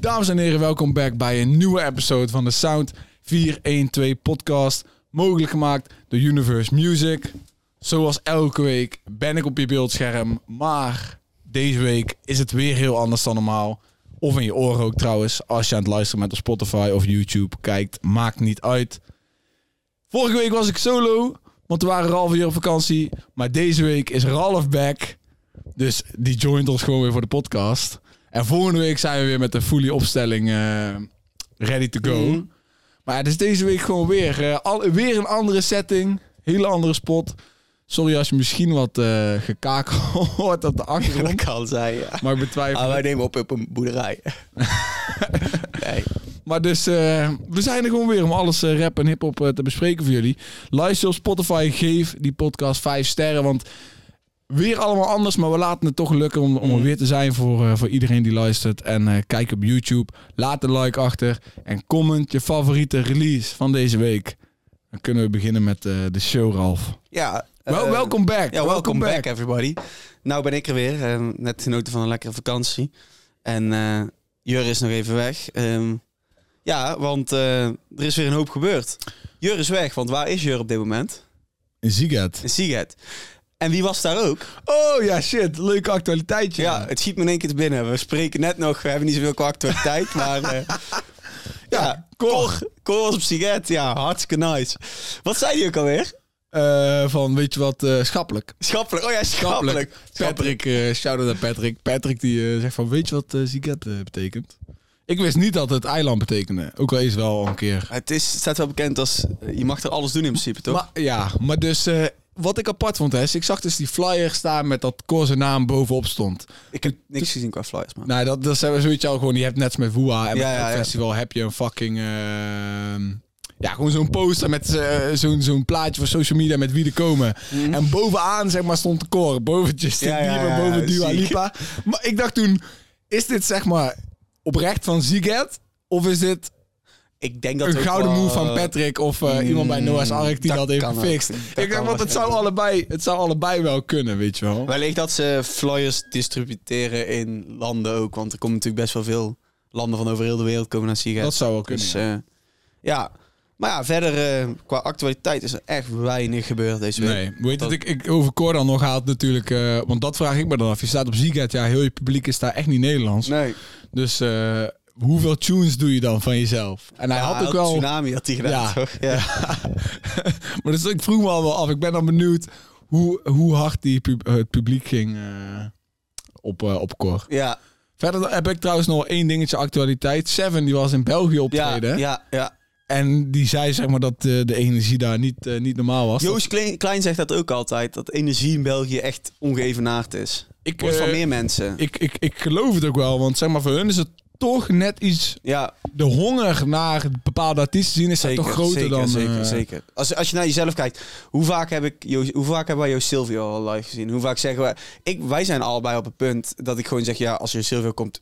Dames en heren, welkom back bij een nieuwe episode van de Sound 412 podcast. Mogelijk gemaakt door Universe Music. Zoals elke week ben ik op je beeldscherm, maar deze week is het weer heel anders dan normaal. Of in je oren ook trouwens, als je aan het luisteren bent op Spotify of YouTube kijkt, maakt niet uit. Vorige week was ik solo, want we waren Ralf weer op vakantie. Maar deze week is Ralf back. Dus die joint ons gewoon weer voor de podcast. En volgende week zijn we weer met de fully opstelling eh, ready to go. Mhm. Maar het is deze week gewoon weer, eh, al, weer een andere setting. Hele andere spot. Sorry als je misschien wat eh gekaak hoort op de Dat achtergrond. kan zijn, ja. Maar ik betwijfel. Ah, wij nemen op op een boerderij. nee. Maar dus, eh, we zijn er gewoon weer om alles eh, rap en hip-hop eh, te bespreken voor jullie. Luister op Spotify, geef die podcast 5 sterren. Want weer allemaal anders, maar we laten het toch lukken om, om er Mm. weer te zijn voor, eh, voor iedereen die luistert. En eh, kijk op YouTube, laat een like achter en comment je favoriete release van deze week. Dan kunnen we beginnen met eh, de show, Ralf. Ja. Wel- eh, welcome back. Ja, welcome, back, everybody. Nou ben ik er weer. eh, net genoten van een lekkere vakantie. En eh Jur is nog even weg. Ehm, ja, want eh, er is weer een hoop gebeurd. Jur is weg, want waar is Jur op dit moment? In Ziget. In Siget. En wie was daar ook? Oh ja, shit. Leuk actualiteitje. Ja, het schiet me in één keer te binnen. We spreken net nog, we hebben niet zoveel qua actualiteit, maar... eh, ja, Cor. Cor was op Siget, ja, hartstikke nice. Wat zei die ook alweer? Eh, van, weet je wat, eh, schappelijk. Schappelijk, oh ja, schappelijk. Schappelijk. Patrick, eh shout-out aan Patrick. Patrick die eh, zegt van, weet je wat eh Ziget eh, betekent? Ik wist niet dat het eiland betekende. Ook al is wel een keer. Het, is, het staat wel bekend als, eh, je mag er alles doen in principe, toch? Maar, ja, maar dus eh, wat ik apart vond, hè, is ik zag dus die flyer staan met dat Cor zijn naam bovenop stond. ik heb dus niks gezien qua flyers, man. Nou, dat, dat zijn we zoiets al gewoon. Je hebt net als met Woeha en Ja, met ja, het ja. festival heb je een fucking... eh, ja, gewoon zo'n poster met eh, zo'n zo'n plaatje voor social media met wie er komen. En bovenaan, zeg maar, stond de koor. Boven Justin Mhm. Ja, ja, Bieber, ja, boven ja, Dua ziek. Lipa. Maar ik dacht toen, is dit zeg maar oprecht van Ziget? Of is dit ik denk dat een ook gouden wel, move van eh, Patrick of eh, mm, iemand bij Noah's Ark die dat, dat heeft kan ook. gefixt? Dat Ik kan dacht, want het zou, waarschijnlijk. allebei, het zou allebei wel kunnen, weet je wel. Wellicht dat ze flyers distributeren in landen ook, want er komen natuurlijk best wel veel landen van over heel de wereld komen naar Siget. Dat zou wel kunnen. Dus ja. eh, ja, maar ja, verder eh, qua actualiteit is er echt weinig gebeurd deze week. Nee, weet dat Dat- ik, ik over Cordan nog haalt natuurlijk, eh, want dat vraag ik me dan af. Je staat op Ziegheid, ja, heel je publiek is daar echt niet Nederlands. nee. Dus eh, hoeveel tunes doe je dan van jezelf? En hij had ook wel, Tsunami had hij gedaan, Ja. toch? Ja. maar dus ik vroeg me al wel af. Ik ben dan benieuwd hoe, hoe hard die pub- het publiek ging eh, op, eh, op Cor. Ja. Verder heb ik trouwens nog één dingetje actualiteit. Seven die was in België Ja. optreden ja, ja, en die zei zeg maar dat eh, de energie daar niet, eh, niet normaal was. Joost Klein, Klein zegt dat ook altijd, dat energie in België echt ongeëvenaard is. ik, Wordt van eh, meer mensen. ik, ik, ik geloof het ook wel, want zeg maar voor hun is het toch net iets ja, de honger naar bepaalde artiesten zien is daar zeker, toch groter zeker, dan... zeker, eh, zeker. Als, als je naar jezelf kijkt, hoe vaak, heb ik Joost, hoe vaak hebben wij Joost Silvio al live gezien? Hoe vaak zeggen wij... Ik, wij zijn allebei op het punt dat ik gewoon zeg, ja, als Joost Silvio komt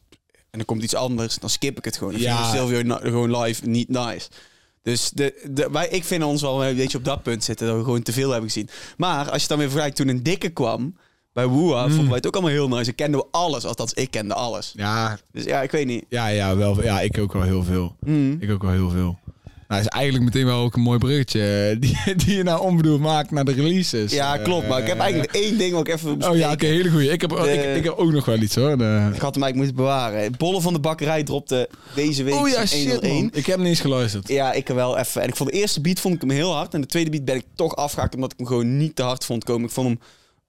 en er komt iets anders, dan skip ik het gewoon. Ik Ja. vind Joost Silvio na- gewoon live niet nice. Dus de, de, wij, ik vind ons wel een beetje op dat punt zitten, dat we gewoon te veel hebben gezien. Maar als je het dan weer vergelijkt, toen een dikke kwam... Bij Woeha Hmm. vonden wij het ook allemaal heel nice. En kenden we alles. Althans, ik kende alles. Ja, Dus ja, ik weet niet. ja, ja, wel, ja, ik ook wel heel veel. Mm. Ik ook wel heel veel. Nou, is eigenlijk meteen wel ook een mooi bruggetje eh, die, die je nou onbedoeld maakt naar de releases. Ja, Eh, klopt. Maar ik heb eigenlijk één ding wat ik even... Oh ja, oké, bespreken. hele goeie. Ik heb, De- ik, ik heb ook nog wel iets hoor. De- Ik had hem eigenlijk moeten bewaren. Bolle van de Bakkerij dropte deze week Oh ja, zijn shit 101. man. Ik heb niet eens geluisterd. Ja, ik wel even. En ik vond de eerste beat vond ik hem heel hard. En de tweede beat ben ik toch afgehaakt omdat ik hem gewoon niet te hard vond komen. Ik vond hem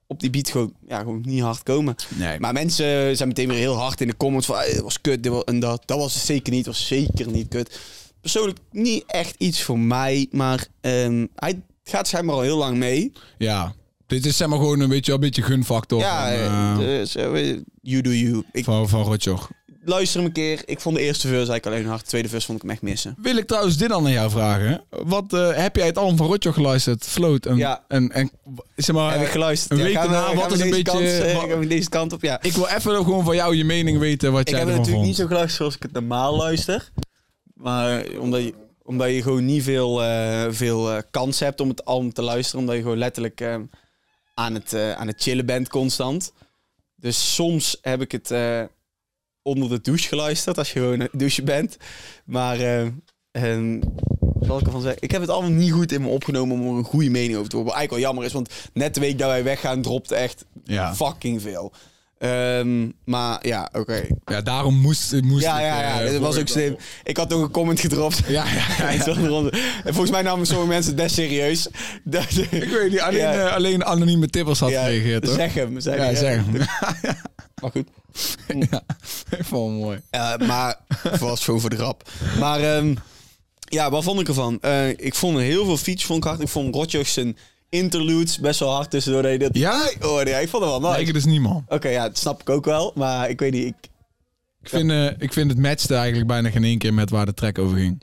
op die beat gewoon, ja, gewoon niet hard komen. Nee. Maar mensen zijn meteen weer heel hard in de comments van... "Eh, Het was kut, dit was, en dat. Dat was het zeker niet, het was zeker niet kut. Persoonlijk niet echt iets voor mij. Maar ehm, hij gaat schijnbaar al heel lang mee. Ja. Dit is zeg maar gewoon een beetje, een beetje gunfactor ja, van, eh, eh, dus, eh, you do you. Ik van, van Rotjoch. luister hem een keer. Ik vond de eerste verse eigenlijk alleen hard. De tweede verse vond ik hem echt missen. Wil ik trouwens dit dan aan jou vragen. Wat eh, heb jij het album van Rotjoch geluisterd? Float en, Ja. en, en zeg maar... Heb ik geluisterd. Een Ja, week gaan we- daarna, gaan wat we is een deze beetje... Kant, eh, wat- gaan we deze kant op, ja. Ik wil even gewoon van jou je mening weten wat Ik jij heb het ervan natuurlijk vond. niet zo graag zoals ik het normaal luister. Maar eh, omdat je, omdat je gewoon niet veel, eh, veel eh, kans hebt om het album te luisteren. Omdat je gewoon letterlijk eh, aan, het, eh, aan het chillen bent constant. Dus soms heb ik het eh, onder de douche geluisterd, als je gewoon een douche bent. Maar eh, ehm, wat zal ik ervan zeggen? Ik heb het allemaal niet goed in me opgenomen om er een goede mening over te horen. Wat eigenlijk wel jammer is, want net de week dat wij weggaan dropte echt Ja. fucking veel. Ehm, maar ja, oké. Ja, daarom moest, moest Ja, ik, ja, ja. eh, dat was vorige ook keer slim. wel. Ik had nog een comment gedropt. Ja, ja, ja. Iets van de ronde. En volgens mij namen sommige mensen het best serieus. Dat, Ik weet niet, alleen, Ja. eh, alleen anonieme tippers had Ja, gereageerd, hoor. Zeg hem. Zeg ja, hem. zeg hem. Maar goed. ja, ik vond hem mooi. Eh, maar was gewoon voor de grap. Maar ehm, ja, wat vond ik ervan? Eh, ik vond er heel veel features vond ik hard. Ik vond Rotjoch's zijn interludes best wel hard tussendoor. Dat je dat Ja? hoorde. Ja, ik vond het wel nice. Nee, ik dus niet, man. Oké, ja, dat snap ik ook wel. Maar ik weet niet. Ik, Ik vind, eh, ik vind het matchte eigenlijk bijna geen één keer met waar de track over ging.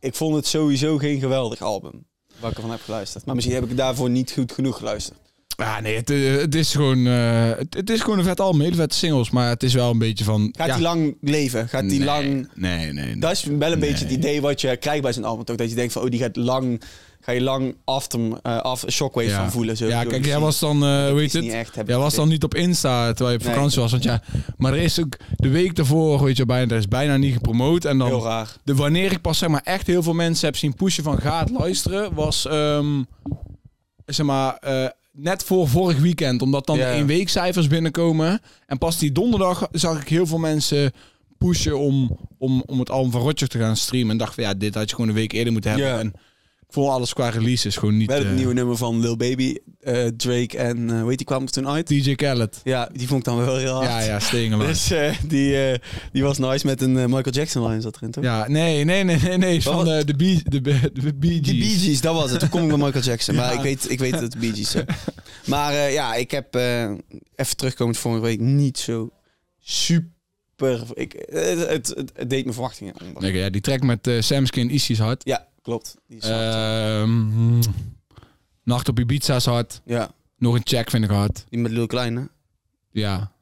ik vond het sowieso geen geweldig album. Waar ik ervan heb geluisterd. Maar misschien heb ik daarvoor niet goed genoeg geluisterd. Ja, nee, het, eh, het, is gewoon, eh, het, het is gewoon een vet album, hele vette singles, maar het is wel een beetje van... Gaat ja, die lang leven? Gaat die nee, lang... Nee, nee, nee. Dat is wel een beetje het Nee. idee wat je krijgt bij zijn album. Toch? Dat je denkt van, oh, die gaat lang... Ga je lang after, eh af, shockwave van voelen. Zo ja, Door kijk, die jij was dan, eh, weet is je niet het, echt, heb jij ik was dan niet op Insta terwijl je op Nee. vakantie was. Want ja, maar er is ook de week daarvoor, weet je, bijna, er is bijna niet gepromoot. En Heel dan, raar. de, wanneer ik pas zeg maar echt heel veel mensen heb zien pushen van ga het luisteren, was ehm, zeg maar eh, net voor vorig weekend. Omdat dan Ja. de eenweekcijfers binnenkomen. En pas die donderdag zag ik heel veel mensen pushen om, om, om het album van Roger te gaan streamen. En dacht van ja, dit had je gewoon een week eerder moeten hebben. Ja. En ik vond alles qua release is gewoon niet... Wel het eh, nieuwe nummer van Lil Baby, eh, Drake en weet die kwam er toen uit. DJ Khaled. Ja, die vond ik dan wel heel hard. Ja, ja, Staying Alive. Dus eh, die, eh, die was nice met een eh, Michael Jackson line zat erin, toch? Ja, nee, nee, nee, nee, nee. is Wat Van was- de, de, Bee- de, Be- de Bee Die Gees. Bee Gees, dat was het. Toen kom ik bij Michael Jackson. Maar Ja. ik weet, ik weet dat het Bee Gees zijn. Maar eh, ja, ik heb eh, even terugkomend vorige week niet zo super... Ik, eh, het, het, het deed mijn verwachtingen onder. Nee, ja, die track met eh, Samskin Isis is hard. Ja, klopt. Die is hard. Ehm, mm, Nacht op Ibiza is hard. ja, Nog een check vind ik hard. die met Lil Kleine. Ja,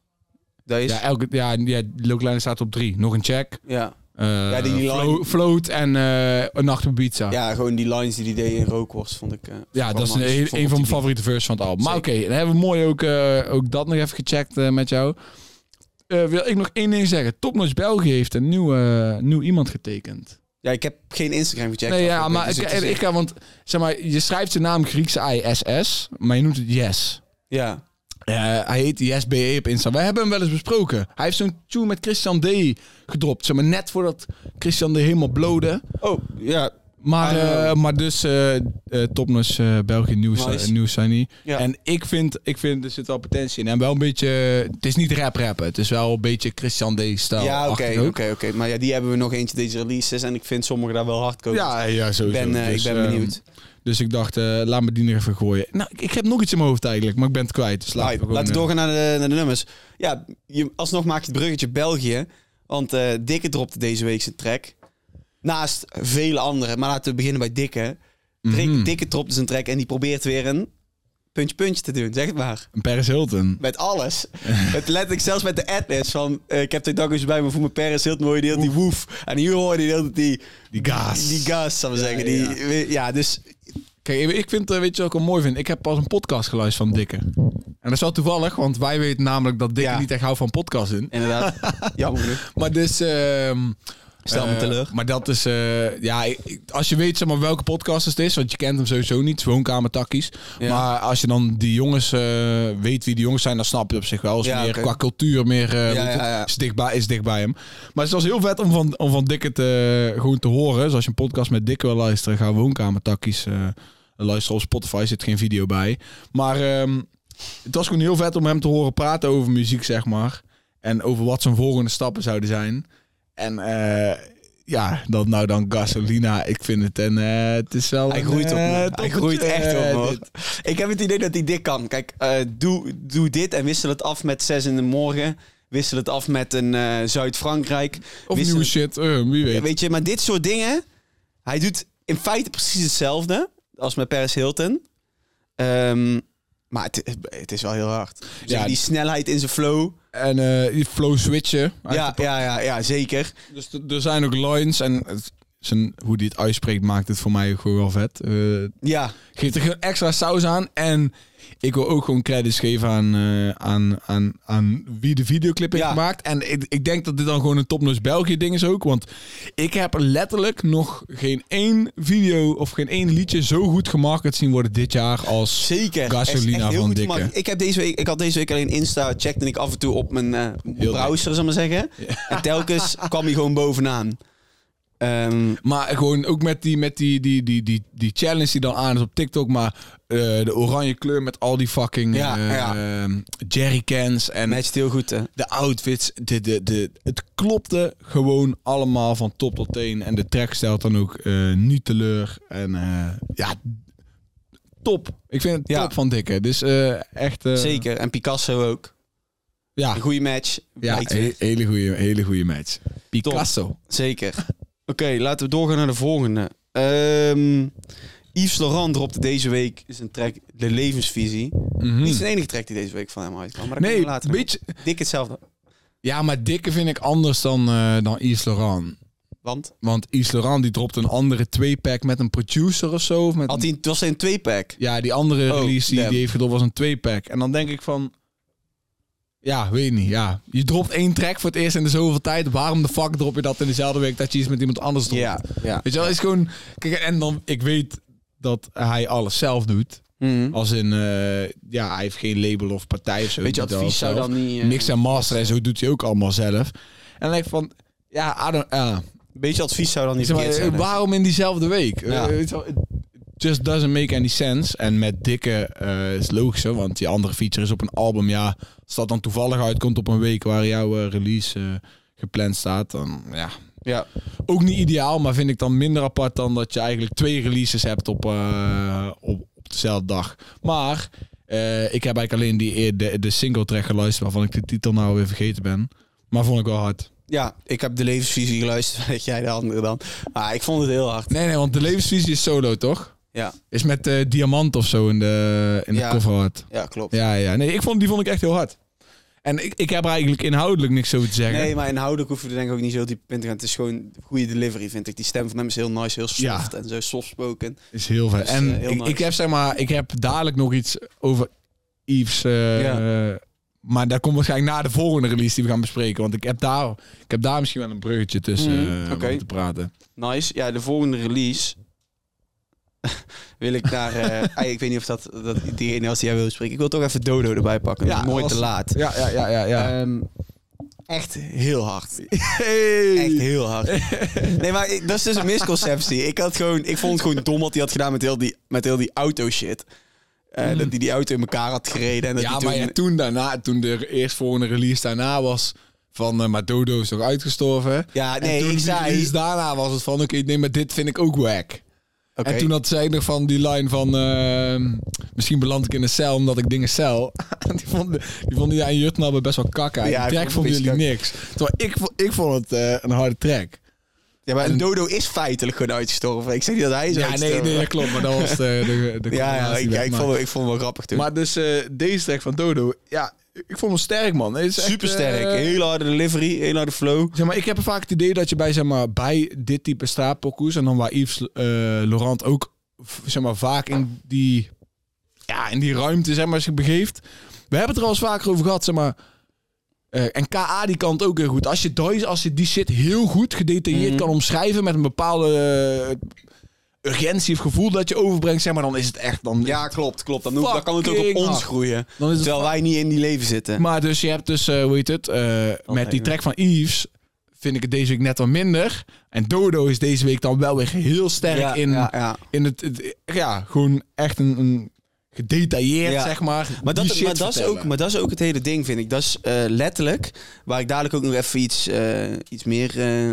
Dat is... ja, Ja. elke, ja, ja Lil Kleine staat op drie. Nog een check. Ja. Eh, Ja, die- die Flo- line- Float en eh, een Nacht op Ibiza. Ja, gewoon die lines die die deed in Rookworst vond ik... eh, wel dat is een, nice. Vond een ik van die mijn favoriete verses van het album. Maar oké, Zeker. dan hebben we mooi ook, eh, ook dat nog even gecheckt eh, met jou. Eh, wil ik nog één ding zeggen. Topnotch België heeft een nieuw, eh, nieuw iemand getekend. Ja, ik heb geen Instagram gecheckt. Nee, ja, afgelopen maar week, ik, dus ik, het is echt- ik- want zeg maar, je schrijft zijn naam Griekse ISS, maar je noemt het Yes. Ja, Eh, hij heet YesBE op Insta. Wij hebben hem wel eens besproken. Hij heeft zo'n tune met Christian D. gedropt. Zeg maar, net voordat Christian D. helemaal blode. oh, ja. Maar, Ah, ja. eh, maar dus eh eh, topnotch eh, België nieuws, Nice. nieuws zijn niet. Ja. En ik vind, ik vind, er zit wel potentie in. En wel een beetje, het is niet rap-rappen. Het is wel een beetje Christian D-stijl. ja, oké, achtig oké, ook. oké. Maar ja, die hebben we nog eentje deze releases. En ik vind sommige daar wel hard komen. Ja, ja, ik sowieso. ben, eh, Dus, ik ben ehm, benieuwd. Dus ik dacht, eh, laat me die nog even gooien. Nou, ik, ik heb nog iets in mijn hoofd eigenlijk, maar ik ben het kwijt. Dus laat Alright, gewoon, laten we eh, doorgaan naar de, naar de nummers. Ja, je, alsnog maak je het bruggetje België. Want eh, Dikke dropte deze week zijn track. Naast vele anderen. Maar laten we beginnen bij Dikke. Drik- Mhm. Dikke dropte zijn track en die probeert weer een puntje puntje te doen. Zeg het maar. Een Paris Hilton. Met alles. het letterlijk zelfs met de adlibs van... eh, ik heb de dag eens bij me voor mijn Paris heel mooi deel die woef. En hier hoorde je heel die... Die gaas. Die gas, zal ik zeggen. Die, we- ja. dus... Kijk, ik vind, eh, weet je wat ik wel mooi vind? Ik heb pas een podcast geluisterd van Dikke. En dat is wel toevallig, want wij weten namelijk dat Dikke Ja. niet echt houdt van podcasts in. Inderdaad. Jammer genoeg. Maar dus... ehm, Stel me eh, teleur. Maar dat is... eh, ja, ik- ik- als je weet zeg maar, welke podcast het is, want je kent hem sowieso niet. Woonkamertakkies. Ja. Maar als je dan die jongens eh, weet wie die jongens zijn, dan snap je het op zich wel. Is Ja, meer oké. qua cultuur, meer... eh, Ja, weet je, ja, ja. Is, dichtbij, is dichtbij hem. Maar het was heel vet om van, om van Dikke te, gewoon te horen. Dus als je een podcast met Dikke wil luisteren, ga Woonkamertakkies eh luisteren. Op Spotify zit geen video bij. Maar ehm, het was gewoon heel vet om hem te horen praten over muziek, zeg maar. En over wat zijn volgende stappen zouden zijn. En eh, ja, dat nou dan Gasolina. Ik vind het en eh, het is wel... Hij een, groeit op eh, me. Hij toppertje, groeit echt eh, op me. dit. hoor. Ik heb het idee dat hij dik kan. Kijk, eh, doe, doe dit en wissel het af met 6 in de morgen. Wissel het af met een eh, Zuid-Frankrijk. Of Wissel- nieuwe shit, eh, wie weet. Weet je, maar dit soort dingen... Hij doet in feite precies hetzelfde als met Paris Hilton. Ehm, maar het, het is wel heel hard. Ja. die snelheid in zijn flow. En eh, die flow switchen. Ja, ja, ja, ja, zeker. Dus er- er zijn ook lines en het- zijn, hoe die het uitspreekt maakt het voor mij gewoon wel vet. Eh, Ja, geeft er gewoon extra saus aan. En ik wil ook gewoon credits geven aan, eh, aan, aan, aan wie de videoclip heeft Ja. gemaakt. En ik, ik denk dat dit dan gewoon een topnotch België ding is ook. Want ik heb letterlijk nog geen één video of geen één liedje zo goed gemarket zien worden dit jaar als... zeker. Gasolina Echt- echt heel van goed Dikke. gemaakt. Ik, heb deze week, ik had deze week alleen Insta, checkte ik af en toe op mijn eh, dik. browser, zal ik maar zeggen. En telkens kwam hij gewoon bovenaan. Ehm, Maar gewoon ook met die, met die, die, die, die, die challenge die dan aan is op TikTok. Maar eh, de oranje kleur met al die fucking Ja, eh, jerrycans en matcht heel goed, hè? de outfits, de, de, de, het klopte gewoon allemaal van top tot teen. En de track stelt dan ook eh, niet teleur. En eh, ja, top. Ik vind het Ja. top van Dikke. Dus eh, echt... eh, Zeker. En Picasso ook. Ja, Een goede match. ja eh. Lijkt he- weer. hele goede hele goede match. Picasso. Zeker. Oké, laten we doorgaan naar de volgende. Ehm, Yves Laurent dropte deze week zijn track De Levensvisie. Mhm. Niet zijn enige track die deze week van hem uitkwam. Maar dat Nee, komen we later nog. beetje... Dik hetzelfde. Ja, maar Dikke vind ik anders dan, eh dan Yves Laurent. Want Want Yves Laurent die dropt een andere twee-pack met een producer of zo. Of met had hij, het was een twee-pack. Ja, die andere Oh, release die, damn. die heeft gedropt was een twee-pack. En dan denk ik van... Ja, weet niet. Ja. Je dropt één track voor het eerst in de zoveel tijd. Waarom de fuck drop je dat in dezelfde week dat je iets met iemand anders dropt? Ja, ja. Weet je wel, is gewoon... Kijk, en dan... Ik weet dat hij alles zelf doet. Mhm. Als in... eh, ja, hij heeft geen label of partij of zo. Weet je, Hij doet advies alles zou zelf. dan niet... eh, Mix en master en zo doet hij ook allemaal zelf. En dan denk ik van... Ja, I don't... ah. Een beetje advies zou dan niet Zeg maar, eh, verkeerd zijn. hè? waarom in diezelfde week? Eh, Ja. weet je wel, it just doesn't make any sense. En met Dikke eh, is logisch, hè, want die andere feature is op een album. Ja, als dat dan toevallig uitkomt op een week waar jouw eh, release eh, gepland staat, dan ja. Ja. Ook niet ideaal, maar vind ik dan minder apart dan dat je eigenlijk twee releases hebt op, eh, op, op dezelfde dag. Maar eh, ik heb eigenlijk alleen die, eer- de, de single track geluisterd waarvan ik de titel nou weer vergeten ben. Maar vond ik wel hard. ja, ik heb De Levensvisie geluisterd. Weet jij de andere dan. Maar ik vond het heel hard. Nee, nee, want de levensvisie is solo, toch? Ja, Is met eh, diamant of zo in de, in de Ja. cover hard. ja klopt. Ja, ja. Nee, ik vond, die vond ik echt heel hard. En ik, ik heb er eigenlijk inhoudelijk niks over te zeggen. Nee, maar inhoudelijk hoef je er denk ik ook niet zo diep in te gaan. Het is gewoon goede delivery, vind ik. Die stem van hem is heel nice, heel soft en zo soft spoken. Is heel vet. Dus, en eh, heel ik, nice. ik heb zeg maar, ik heb dadelijk nog iets over Yves. eh, eh, maar daar komt waarschijnlijk na de volgende release die we gaan bespreken. Want ik heb daar, ik heb daar misschien wel een bruggetje tussen Mhm, eh, om oké. te praten. Nice. Ja, de volgende release wil ik naar... eh, ah, ik weet niet of dat, dat diegene was die jij wil spreken. Ik wil toch even Dodo erbij pakken. Ja, Mooi als- te laat. Ja, ja, ja, ja. ja. Ehm, echt heel hard. Hey! Echt heel hard. Nee, maar ik- dat is dus een misconceptie. Ik, had gewoon, ik vond het gewoon dom wat hij had gedaan met heel die, met heel die auto shit. Eh, Dat hij die auto in elkaar had gereden. En dat Mm. ja, hij maar toen- ja, toen daarna, toen de eerstvolgende release daarna was van eh maar Dodo is toch uitgestorven. Ja, en nee, toen ik die zei... release daarna was het van, oké, nee, maar dit vind ik ook wack. Oké. En toen had zij nog van die line van, ehm, misschien beland ik in een cel omdat ik dingen cel. die vonden die vonden jij en Jutnabbe best wel kakka. Ja, die ik track vond vonden het jullie een niks. Terwijl ik, vo- ik vond het eh, een harde track. Ja, maar een dodo is feitelijk gewoon uitgestorven. Ik zeg niet dat hij is Ja, nee, uitgestorven. nee, dat klopt. Maar dat was de, de, de ja, ja, combinatie ik, die ja, dat ik, maakte. vond, ik vond het wel grappig toen. Maar dus eh, deze track van Dodo, ja, ik vond hem sterk, man. Het is echt, Supersterk. eh, hele harde delivery, hele harde flow. Zeg maar, ik heb vaak het idee dat je bij, zeg maar, bij dit type straatpokkoes... en dan waar Yves eh, Laurent ook v- zeg maar, vaak in die, ja, in die ruimte zeg maar, zich begeeft. We hebben het er al eens vaker over gehad. Zeg maar, eh, en KA die kan het ook heel goed. Als je, die, als je die shit heel goed gedetailleerd Mhm. kan omschrijven... met een bepaalde eh, urgentie of gevoel dat je overbrengt... Zeg maar, dan is het echt... Dan, Ja, klopt, klopt. Dan, hoeft- dan kan het ook op Fucking ons hard. groeien. dan is het Terwijl wij niet in die leven zitten. maar dus je hebt dus, eh, hoe heet het, eh, met die even. track van Yves vind ik het deze week net wat minder. En Dodo is deze week dan wel weer heel sterk ja, in, ja, ja. in het, het- ja, gewoon echt een, een gedetailleerd, Ja. zeg maar, Maar, die dat, shit maar, dat is vertellen. ook, maar dat is ook het hele ding, vind ik. Dat is eh, letterlijk, waar ik dadelijk ook nog even iets, eh, iets meer eh,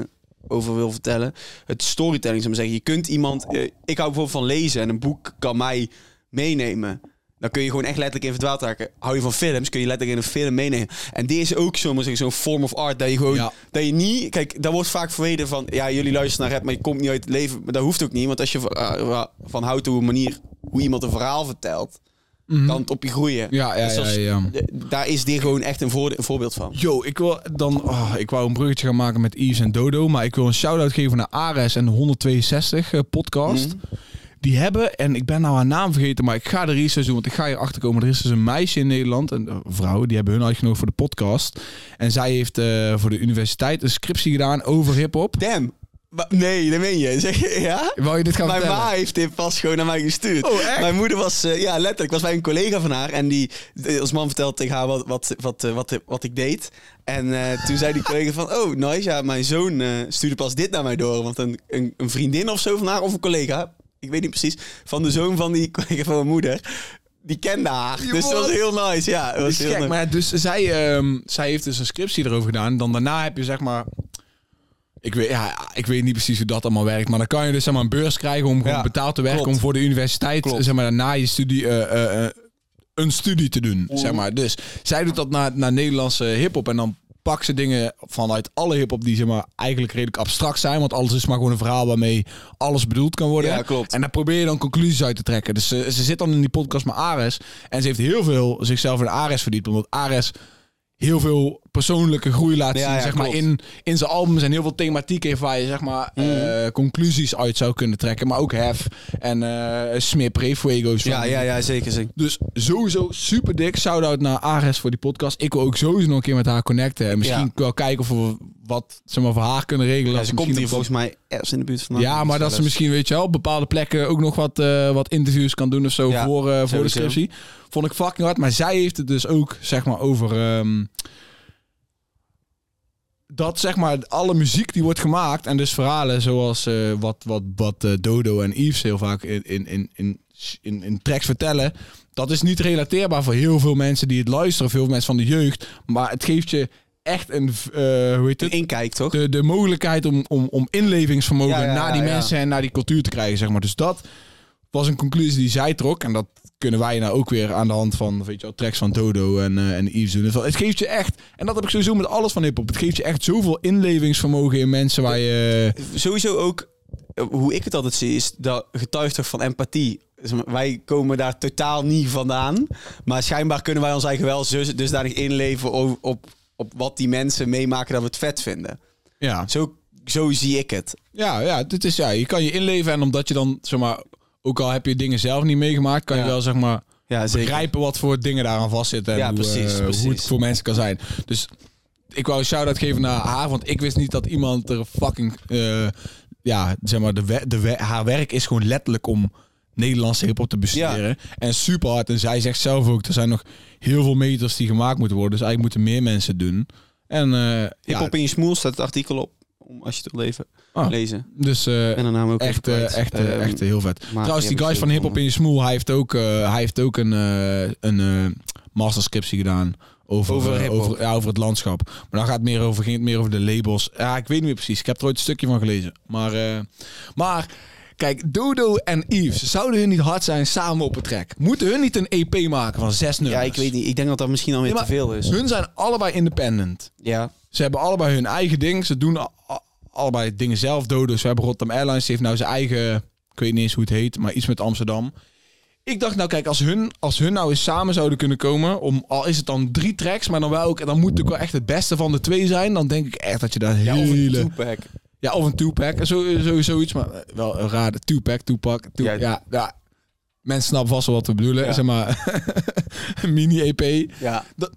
over wil vertellen. Het storytelling, zou ik maar zeggen. Je kunt iemand... eh, ik hou bijvoorbeeld van lezen en een boek kan mij meenemen. Dan kun je gewoon echt letterlijk in verdwaald raken. Hou je van films, kun je letterlijk in een film meenemen. En dit is ook zomaar zeggen, zo'n form of art dat je gewoon... Ja. Dat je niet... Kijk, daar wordt vaak verweten van... Ja, jullie luisteren naar het, maar je komt niet uit het eh, leven. Maar dat hoeft ook niet, want als je van- eh, van houdt hoe een manier... Hoe iemand een verhaal vertelt Mhm. kant op je groeien. Ja, ja, Dus ja, als- ja. de- daar is dit gewoon echt een, voor, een voorbeeld van. Yo, ik wil dan. oh, ik wou een bruggetje gaan maken met Yves en Dodo. Maar ik wil een shout-out geven naar Ares en de 162 eh, podcast. Die hebben, en ik ben nou haar naam vergeten, maar ik ga de research doen, want ik ga hier achter komen. Er is dus een meisje in Nederland, een eh, vrouw, die hebben hun uitgenodigd voor de podcast. En zij heeft eh, voor de universiteit een scriptie gedaan over hip-hop. Damn. Wa- Nee, dat meen je. Zeg je, ja? Wou je dit gaan Mijn vertellen? ma heeft dit pas gewoon naar mij gestuurd. Oh, echt? Mijn moeder was, eh, ja, letterlijk, was bij een collega van haar. En die, de- ons man vertelde tegen haar wat, wat, wat, eh, wat, eh, wat ik deed. En eh, toen zei die collega van, oh, nice, ja, mijn zoon eh, stuurde pas dit naar mij door. Want een, een, een vriendin of zo van haar, of een collega, ik weet niet precies, van de zoon van die collega van mijn moeder, die kende haar. Je dus dat was wordt- heel nice, ja. Dat Dat was is heel gek, nice. maar ja, dus zij, ehm, zij heeft dus een scriptie erover gedaan. Dan daarna heb je zeg maar... Ik weet, ja, ik weet niet precies hoe dat allemaal werkt. Maar dan kan je dus zeg maar, een beurs krijgen om gewoon Ja, betaald te werken. klopt. Om voor de universiteit Klopt. zeg maar, na je studie eh, eh, eh, een studie te doen. Mm. Zeg maar. Dus zij doet dat naar, naar Nederlandse hip-hop. En dan pakt ze dingen vanuit alle hip-hop die zeg maar, eigenlijk redelijk abstract zijn. Want alles is maar gewoon een verhaal waarmee alles bedoeld kan worden. Ja, klopt. En daar probeer je dan conclusies uit te trekken. Dus ze, ze zit dan in die podcast met Ares. En ze heeft heel veel zichzelf in Ares verdiept. Omdat Ares heel veel persoonlijke groei laat Ja, zien. ja, zeg maar, klopt. Mhm. in, in zijn albums en heel veel thematiek heeft waar je zeg maar, eh, conclusies uit zou kunnen trekken. Maar ook Hef en eh Smip, Refuego's. van- Ja, ja, ja, zeker, zeker. Dus sowieso super dik. Shout-out naar Ares voor die podcast. Ik wil ook sowieso nog een keer met haar connecten. En misschien Ja. wel kijken of we wat zeg maar, voor haar kunnen regelen. Ja, Of ze misschien komt hier op- volgens mij ergens in de buurt vandaan. ja, maar dat ze misschien, weet je wel, op bepaalde plekken ook nog wat, eh, wat interviews kan doen of zo Ja, voor, eh, voor de sowieso. scriptie. Vond ik fucking hard. Maar zij heeft het dus ook, zeg maar, over... ehm, dat, zeg maar, alle muziek die wordt gemaakt en dus verhalen zoals eh, wat, wat, wat eh, Dodo en Yves heel vaak in, in, in, in, in, in tracks vertellen... Dat is niet relateerbaar voor heel veel mensen die het luisteren, veel mensen van de jeugd. Maar het geeft je echt een, eh, hoe heet het? Een inkijk, toch? de, de mogelijkheid om, om, om inlevingsvermogen Ja, ja, naar die ja, ja. mensen en naar die cultuur te krijgen, zeg maar. Dus dat was een conclusie die zij trok. En dat kunnen wij nou ook weer aan de hand van, weet je wel, tracks van Dodo en, eh, en Yves doen. Dus wel, het geeft je echt, en dat heb ik sowieso met alles van hiphop, het geeft je echt zoveel inlevingsvermogen in mensen waar je... Sowieso ook, eh, hoe ik het altijd zie, is dat getuigt toch van empathie. Dus Wij komen daar totaal niet vandaan. Maar schijnbaar kunnen wij ons eigen wel dus, dusdanig inleven op, op, op wat die mensen meemaken dat we het vet vinden. Ja, Zo, zo zie ik het. ja, ja, dit is, ja, je kan je inleven en omdat je dan, zeg maar, ook al heb je dingen zelf niet meegemaakt, kan je Ja. wel, zeg maar... Ja, begrijpen wat voor dingen daaraan vastzitten. En Ja, hoe, precies, eh, precies. hoe het voor mensen kan zijn. Dus ik wou een shout-out geven naar haar. Want ik wist niet dat iemand er fucking... eh, ja, zeg maar, de we- de we- haar werk is gewoon letterlijk om Nederlandse hiphop te bestuderen. En super hard. En zij zegt zelf ook, er zijn nog heel veel meters die gemaakt moeten worden. Dus eigenlijk moeten meer mensen doen. En eh, ja, Hip-hop in je smoel staat het artikel op, om, als je het wil leven, Ah. lezen. dus eh, En de naam ook echt, even eh, kwijt. echt, eh, Ehm, echt heel vet. maar Trouwens, die ja, guys van Hip Hop in je smoel, hij heeft ook, eh, hij heeft ook een, eh een eh, masterscriptie gedaan over, Over eh, hiphop. over, ja, over het landschap. Maar dan gaat het meer over, ging het meer over de labels. Ja, ik weet niet meer precies. Ik heb er ooit een stukje van gelezen. Maar, eh, maar kijk, Dodo en Yves, zouden hun niet hard zijn samen op een track? Moeten hun niet een EP maken van zes nummers? Ja, ik weet niet. Ik denk dat dat misschien alweer Ja, maar te veel is. Hun zijn allebei independent. Ja. Ze hebben allebei hun eigen ding. Ze doen a- a- allebei dingen zelf dood. Dus we hebben Rotterdam Airlines. Die heeft nou zijn eigen... Ik weet niet eens hoe het heet, maar iets met Amsterdam. Ik dacht, nou kijk, als hun, als hun nou eens samen zouden kunnen komen... Om, al is het dan drie tracks, maar dan wel ook... en Dan moet het ook wel echt het beste van de twee zijn. Dan denk ik echt dat je daar Ja, of een hele... Tupac. ja, of een two-pack. Zo, zo, zoiets, maar eh, wel een rare two-pack, two-pack. two- Ja. ja. Ja, Mensen snappen vast wel wat we bedoelen. Ja. Zeg maar, een E mini-EP. Ja. Dat,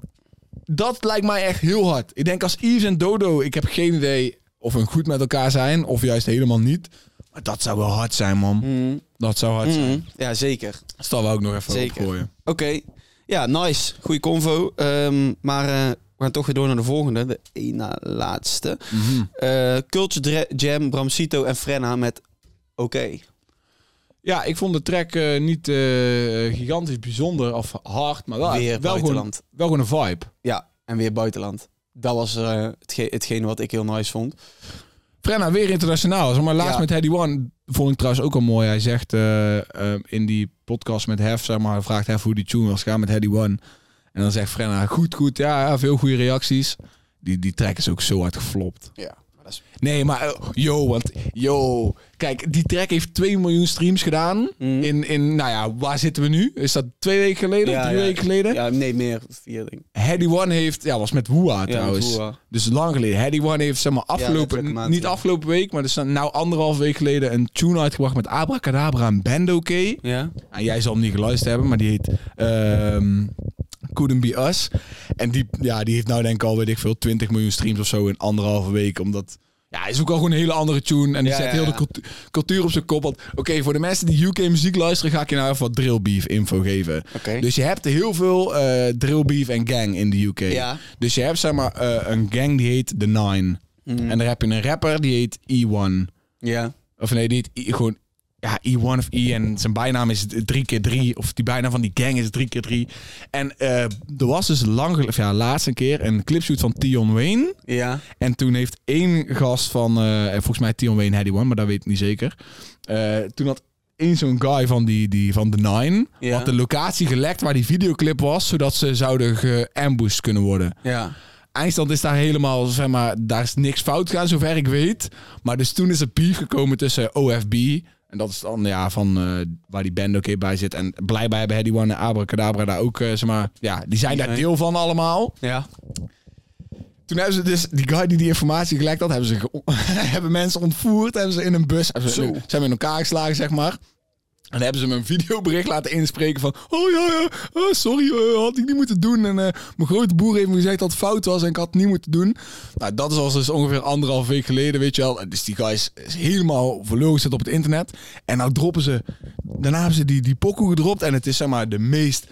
dat lijkt mij echt heel hard. Ik denk als Yves en Dodo, ik heb geen idee of hun goed met elkaar zijn of juist helemaal niet. Maar dat zou wel hard zijn, man. Mm. Dat zou hard zijn. Mm. Ja, zeker. Dus dat wou ik nog even Zeker. opgooien. Oké. Ja, nice. Goeie convo. Ehm, maar eh, we gaan toch weer door naar de volgende. De één na laatste. Mhm. Eh, Culture Dra- Jam, Bramcito en Frenna met Oké. Ja, ik vond de track eh, niet eh, gigantisch bijzonder of hard, maar wel, weer wel, gewoon, buitenland. wel gewoon een vibe. Ja, en weer buitenland. Dat was eh, hetge- hetgene wat ik heel nice vond. Frenna weer internationaal. Zeg maar laatst Ja. met Heady One vond ik trouwens ook al mooi. Hij zegt eh, eh, in die podcast met Hef, zeg maar, hij vraagt Hef hoe die tune was gaan met Heady One. En dan zegt Frenna, goed, goed, ja, ja, veel goede reacties. Die, die track is ook zo hard geflopt. Ja. dat is... Nee, maar eh, yo, want yo. Kijk, die track heeft 2 miljoen streams gedaan. Mm. In, in, nou ja, waar zitten we nu? Is dat twee weken geleden? Ja, drie ja. weken geleden? Ja, nee, meer. Vier, denk ik. Heady One heeft, ja, was met Woeha Ja, trouwens. met Woeha. Dus lang geleden. Heady One heeft, zeg maar, afgelopen, letterlijk een maand niet geleden. afgelopen week, maar dus nou anderhalf week geleden een tune uitgebracht met Abracadabra en Bando K. Ja? Nou, jij zal hem niet geluisterd hebben, maar die heet ehm Couldn't Be Us. En die, ja, die heeft nou denk ik al, weet ik veel, 20 miljoen streams of zo in anderhalve week. Omdat, ja, hij is ook al gewoon een hele andere tune. En die Ja, zet ja, heel ja. de cultu- cultuur op zijn kop. Want, Oké, voor de mensen die UK muziek luisteren, ga ik je nou even wat drillbeef info geven. Oké. Dus je hebt heel veel eh drillbeef en gang in de UK. Ja. Dus je hebt zeg maar eh, een gang die heet The Nine. Hmm. En daar heb je een rapper die heet E1. Ja. Of nee, die heet I- gewoon ja, E1 of E. En zijn bijnaam is 3x3. Of die bijnaam van die gang is 3x3. En eh, er was dus lang, gel- of ja, laatst een keer een clipshoot van Tion Wayne. Ja. En toen heeft één gast van, eh, volgens mij Tion Wayne had die One, maar dat weet ik niet zeker. Eh, toen had één zo'n guy van, die, die, van The Nine, Ja. had de locatie gelekt waar die videoclip was, zodat ze zouden geambushed kunnen worden. Ja. Eindstand is daar helemaal, zeg maar, daar is niks fout gegaan, zover ik weet. Maar dus toen is er beef gekomen tussen OFB, en dat is dan ja, van eh, waar die band ook in bij zit. En blijkbaar hebben Hedy One en Abracadabra daar ook, eh, zeg maar, ja, die zijn daar Oké. deel van allemaal. Ja. Toen hebben ze dus, die guy die die informatie gelekt had, hebben ze ge- hebben mensen ontvoerd, hebben ze in een bus, hebben ze, Zo. zijn we in elkaar geslagen, zeg maar. En dan hebben ze me een videobericht laten inspreken van... Oh ja, ja oh, sorry, eh, had ik niet moeten doen. En eh, mijn grote boer heeft me gezegd dat het fout was en ik had het niet moeten doen. Nou, dat is al dus ongeveer anderhalf week geleden, weet je wel. En Dus die guy is, is helemaal verloren zit op het internet. En nou droppen ze... Daarna hebben ze die, die pokoe gedropt. En het is zeg maar de meest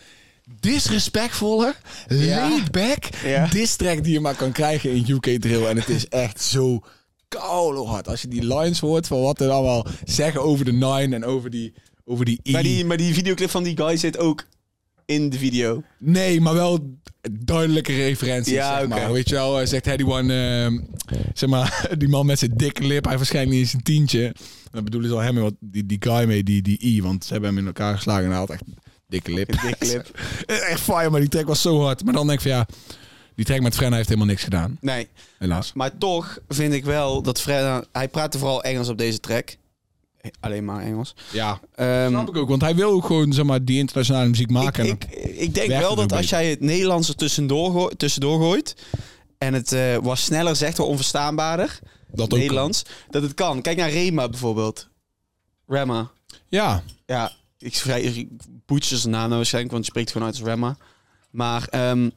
disrespectvolle, Ja. laid-back Ja. diss track die je maar kan krijgen in UK drill. En het is echt zo koude hard. Als je die lines hoort van wat er allemaal zeggen over de Nine en over die... Over die E. Maar die, maar die videoclip van die guy zit ook in de video. Nee, maar wel duidelijke referenties, Ja, zeg maar. oké. Weet je wel, eh, zegt Hedy One, ehm, zeg maar, die man met zijn dikke lip, hij waarschijnlijk niet eens een tientje. Dan bedoelen ze al hem, en wat, die, die guy mee, die, die I, want ze hebben hem in elkaar geslagen en hij had echt dikke lip. Eh, Dikke lip. echt fire, maar die track was zo hard. Maar dan denk ik van, ja, die track met Frenna heeft helemaal niks gedaan, Nee. helaas. Maar toch vind ik wel dat Fred... Hij praatte vooral Engels op deze track. Alleen maar Engels. Ja, Ehm, snap ik ook, want hij wil ook gewoon, zeg maar, die internationale muziek ik, maken. ik, ik denk werkt het wel dat ook als jij het Nederlands er tussendoor, goo- tussendoor gooit... en het eh, wat sneller zegt, wat onverstaanbaarder... dat ook. Nederlands, dat het kan. Kijk naar Rema bijvoorbeeld. Rema. Ja, Ja, ik, vrij, ik boetser zijn naam nou waarschijnlijk, want je spreekt gewoon uit als Rema. Maar ehm,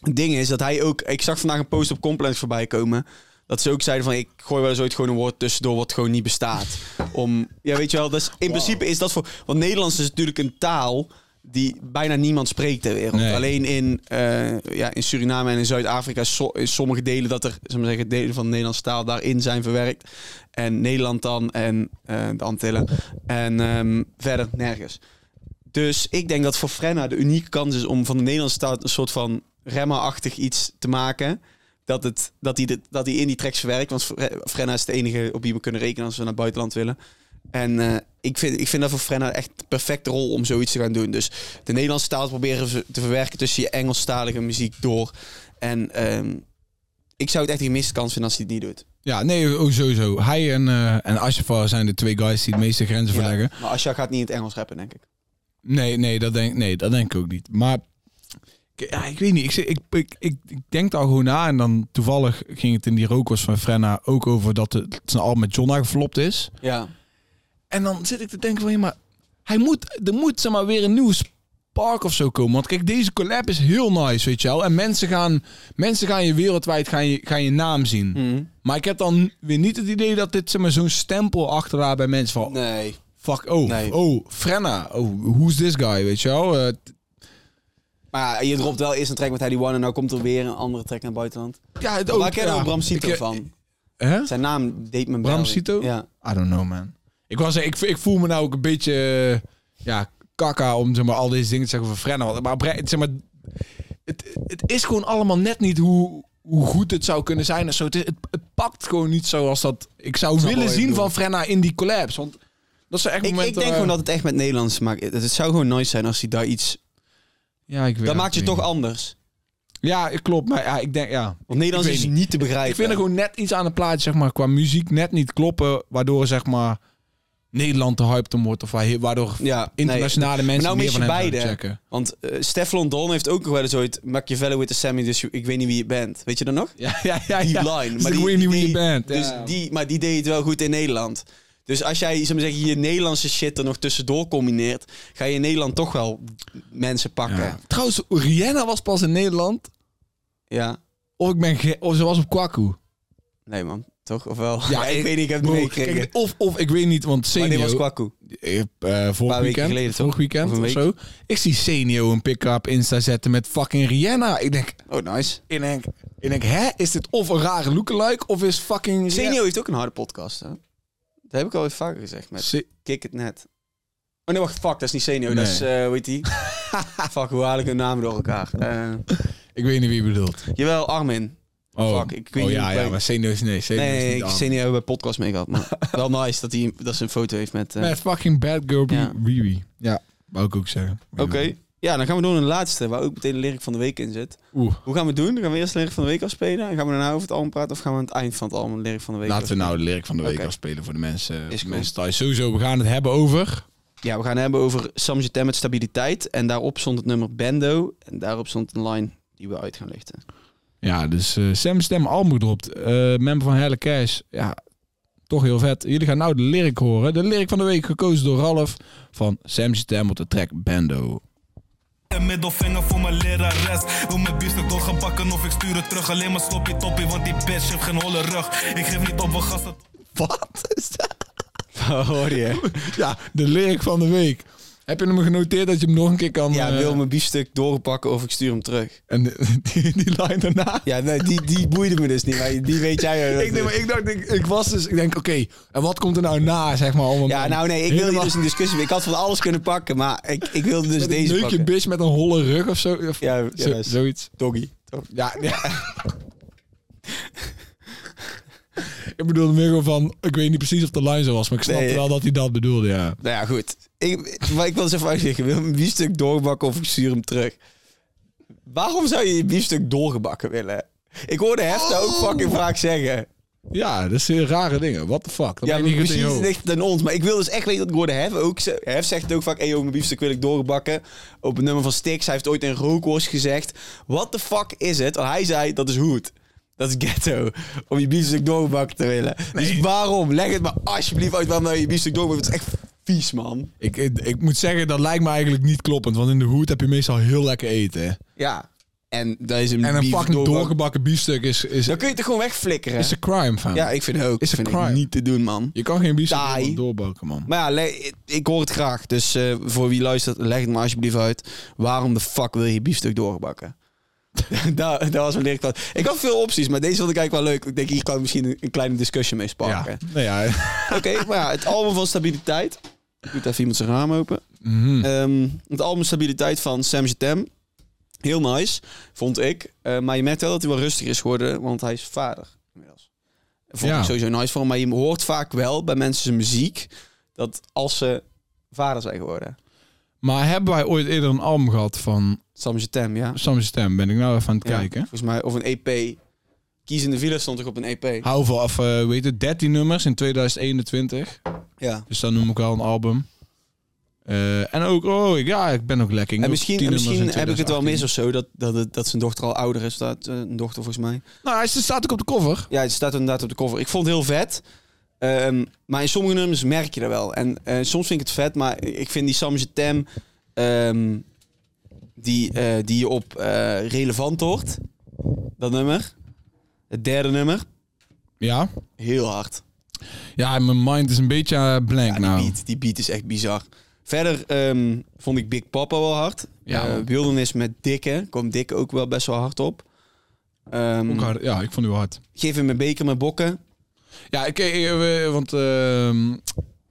het ding is dat hij ook... Ik zag vandaag een post op Complex voorbij komen... Dat ze ook zeiden van, ik gooi wel eens ooit gewoon een woord tussendoor wat gewoon niet bestaat. Om, ja weet je wel, dus in principe is dat voor... Want Nederlands is natuurlijk een taal die bijna niemand spreekt ter wereld. Nee. Alleen in, eh, ja, in Suriname en in Zuid-Afrika, so- in sommige delen dat er, zullen we zeggen, delen van de Nederlandse taal daarin zijn verwerkt. En Nederland dan en eh, de Antillen. En ehm, verder nergens. Dus ik denk dat voor Frenna de unieke kans is om van de Nederlandse taal een soort van remma-achtig iets te maken. Dat, het, dat, hij de, dat hij in die tracks verwerkt. Want Fre- Frenna is de enige op wie we kunnen rekenen als we naar het buitenland willen. En eh, ik, vind, ik vind dat voor Frenna echt de perfecte rol om zoiets te gaan doen. Dus de Nederlandse taal proberen ver- te verwerken tussen je Engelstalige muziek door. En ehm, ik zou het echt een gemiste kans vinden als hij het niet doet. ja, nee, oh, sowieso. Hij en, eh en Ashafar zijn de twee guys die het meeste grenzen verleggen. Ja, maar Asja gaat niet in het Engels rappen, denk ik. Nee, nee, dat denk, nee, dat denk ik ook niet. Maar ik- ja, ik weet niet. Ik, zit- ik, ik, ik, ik denk daar gewoon na. En dan toevallig ging het in die rookwas van Frenna ook over dat het zijn album met Jonna geflopt is. Ja. En dan zit ik te denken van, ja, maar hij moet, er moet zeg maar, weer een nieuwe spark of zo komen. Want kijk, deze collab is heel nice, weet je wel. En mensen gaan, mensen gaan je wereldwijd gaan je, gaan je naam zien. Mhm. Maar ik heb dan weer niet het idee dat dit zeg maar, zo'n stempel achterlaat bij mensen van... Nee. Fuck, oh, Nee. oh, Frenna. Oh, who's this guy, weet je wel. Eh, Maar ja, je dropt wel eerst een track met Heidi One en nou komt er weer een andere track naar het buitenland. Ja, het Waar ook. kennen ken ja. Bram Sito Ik, eh, van? Hè? Zijn naam deed me Bram bellen. Sito? Ja. I don't know, man. Ik, was, ik, ik voel me nou ook een beetje eh, ja, kakka om zeg maar, al deze dingen te zeggen over Frenna. Want- Maar, bre- zeg maar het, het is gewoon allemaal net niet hoe, hoe goed het zou kunnen zijn. of Zo. Het, het, het pakt gewoon niet zoals dat ik zou snap willen wat je zien bedoelt. van Frenna in die collapse. Want dat zijn echt Ik, momenten... ik denk waar- gewoon dat het echt met Nederlands maakt. Het, het zou gewoon nice zijn als hij daar iets... Ja, ik weet dat het maakt je niet. toch anders. Ja, klopt. Maar ja, ik denk, ja. Want Nederlands Ik weet is niet te begrijpen. Ik vind er gewoon net iets aan het plaatje, zeg maar, qua muziek net niet kloppen. Waardoor, zeg maar, Nederland te hyped om wordt. Of wa- waardoor ja, nee. internationale mensen nou meer mis van je hem gaan beide. checken. Want eh Stefan Don heeft ook nog wel eens ooit Machiavello with the Sammy, dus you- ik weet niet wie je bent. Weet je dat nog? Ja, ja, ja. Die ja. line. Dus ik weet niet wie je bent. Dus Ja. die, maar die deed het wel goed in Nederland. Dus als jij zeg maar zeggen, je Nederlandse shit er nog tussendoor combineert, ga je in Nederland toch wel mensen pakken. Ja. Ja. Trouwens, Rihanna was pas in Nederland. Of, ik ben ge- of ze was op Kwaku. Nee man, toch? Of wel? Ja, Ja, ik, ik- weet niet, ik heb het niet Bro, meegekregen. kijk, Of, of ik weet niet, want Maar dit was Senio... Kwaku. eh, eh, vorig weken weekend, geleden, toch? vorig weekend Of of, een zo. Ik zie Senio een pick-up op Insta zetten met fucking Rihanna. Ik denk, Oh, nice. ik denk, ik denk, hè? Is dit of een rare lookalike of is fucking... Senio heeft ook een harde podcast, hè? Dat heb ik al eens vaker gezegd met Se- Kick It Net. Oh nee, wacht, fuck, dat is niet Senio, dat Nee. is, eh hoe heet die? fuck, hoe haal ik hun namen door elkaar? Eh, Ik weet niet wie je bedoelt. jawel, Armin. Oh, Fuck, ik weet oh niet ja, wie- ja, maar Senio is nee. Senio is Nee, niet ik aan. Senio bij podcast mee gehad, maar wel nice dat hij dat ze een foto heeft met... eh, Met fucking bad girl Ja. Bibi. Ja, wou ik ook zeggen. Oké. Ja, dan gaan we door naar de laatste, waar ook meteen de lyric van de week in zit. Oeh, Hoe gaan we het doen? Gaan we eerst de lyric van de week afspelen? En gaan we daarna over het album praten? Of gaan we aan het eind van het album de lyric van de week laten we nou de lyric van de week Oké. afspelen voor de mensen. Is Is goed. mensen thuis. Sowieso, we gaan het hebben over... Ja, we gaan het hebben over Samje Tem met stabiliteit. En daarop stond het nummer Bendo. En daarop stond een line die we uit gaan lichten. Ja, dus eh, Sam Stem album gedropt. Eh, member van Helle Cash. Ja, toch heel vet. Jullie gaan nou de lyric horen. De lyric van de week gekozen door Ralf van Sam Stem op de track Bando. Een middelvinger voor mijn lerares. Wil mijn biefstuk doorgebakken of ik stuur het terug. Alleen maar sloppy toppie, want die bitch heeft geen holle rug. Ik geef niet op, we gasten. Wat is dat? Oh, Hoor je? Ja, de lyric van de week. Heb je hem genoteerd dat je hem nog een keer kan... Ja, eh, wil mijn biefstuk doorpakken of ik stuur hem terug. En die, die, die line daarna. Ja, nee, die, die boeide me dus niet. Maar die weet jij. Ik, denk, maar ik dacht, ik, ik was dus, ik denk, oké, en wat komt er nou na, zeg maar? Om hem Ja, dan nou nee, ik wilde helemaal- hier dus een discussie mee. Ik had van alles kunnen pakken, maar ik, ik wilde dus met een deze neukje pakken. bitch met een holle rug of zo. Of Ja, ja, zo- dat is- zoiets. Doggy. Ja, ja. ik bedoelde meer gewoon van, ik weet niet precies of de line zo was, maar ik snapte Nee. wel dat hij dat bedoelde, ja. Nou ja, goed. Ik, maar ik wil eens even uitleggen. Wil je mijn biefstuk doorbakken of ik stuur hem terug? Waarom zou je je biefstuk doorgebakken willen? Ik hoorde Hefta ook fucking vaak zeggen. Ja, Oh! dat is heel rare dingen. What the fuck? Dat weet Ja, ik maar niet goed in precies je hoofd. ligt het aan ons. Maar ik wil dus echt weten dat Gordon Hef ook... ze- Hef zegt het ook vaak, hey joh, mijn biefstuk wil ik doorbakken. Op het nummer van Stix. Hij heeft ooit in Rookhorst gezegd... What the fuck is het? Want hij zei, dat is hoed. Dat is ghetto. Om je biefstuk doorbakken te willen. Dus waarom? Leg het maar alsjeblieft uit waarom nou je biefstuk doorbakken. Het is echt vies, man. Ik, ik, ik moet zeggen, dat lijkt me eigenlijk niet kloppend, want in de hoed heb je meestal heel lekker eten. hè. Ja. En dat is een, En een bief fucking doorbakken. doorgebakken biefstuk is, is, Dan kun je het er gewoon wegflikkeren. is een crime, van. ja, ik vind het ook. Is een vind ik crime. niet te doen, man. Je kan geen biefstuk Taai. helemaal doorbakken, man. Maar ja, le- ik hoor het graag. Dus eh, voor wie luistert, leg het me alsjeblieft uit. Waarom de fuck wil je je biefstuk doorgebakken? dat, dat was mijn leerkant. Ik had veel opties, maar deze vond ik eigenlijk wel leuk. Ik denk, hier kan ik misschien een, een kleine discussie mee Ja. sparken. Nou ja. Oké, maar ja, het album van Stabiliteit. Doet even iemand zijn raam open. Mhm. Ehm, het album Stabiliteit van Sam Jatem. Heel nice, vond ik. Eh, maar je merkt wel dat hij wel rustiger is geworden, want hij is vader inmiddels. Vond Ja. ik sowieso nice voor hem. Maar je hoort vaak wel bij mensen zijn muziek dat als ze vader zijn geworden. Maar hebben wij ooit eerder een album gehad van Sam Jatem, ja. Sam Stem? Ben ik nou even aan het Ja, kijken. Volgens mij, of een E EP. Kies in de Villa stond ik op een E EP. Hou van af, eh, weet je, 13 nummers in 2021. Ja. Dus dat noem ik wel een album. Eh, en ook, oh ik- ja, ik ben ook lekker. Ik En doe misschien, 10 en nummers in misschien heb ik het wel 2018. mis of zo, dat, dat, het- dat zijn dochter al ouder is. Dat, eh, een dochter volgens mij. Nou, hij staat ook op de cover. Ja, het staat inderdaad op de cover. Ik vond het heel vet. Ehm, maar in sommige nummers merk je dat wel. En eh, soms vind ik het vet, maar ik vind die Samje Tem... ehm, die, eh, die je op eh, relevant hoort. Dat nummer. Het derde nummer. Ja. Heel hard. Ja, mijn mind is een beetje eh, blank Ja, nou. die, beat, die beat is echt bizar. Verder ehm, vond ik Big Papa wel hard. Ja. Eh, Wildernis met Dikke. Komt Dikke ook wel best wel hard op. Ehm, Ook hard. Ja, ik vond die wel hard. Geef hem een beker met bokken. Ja, ik, eh, eh, want ehm,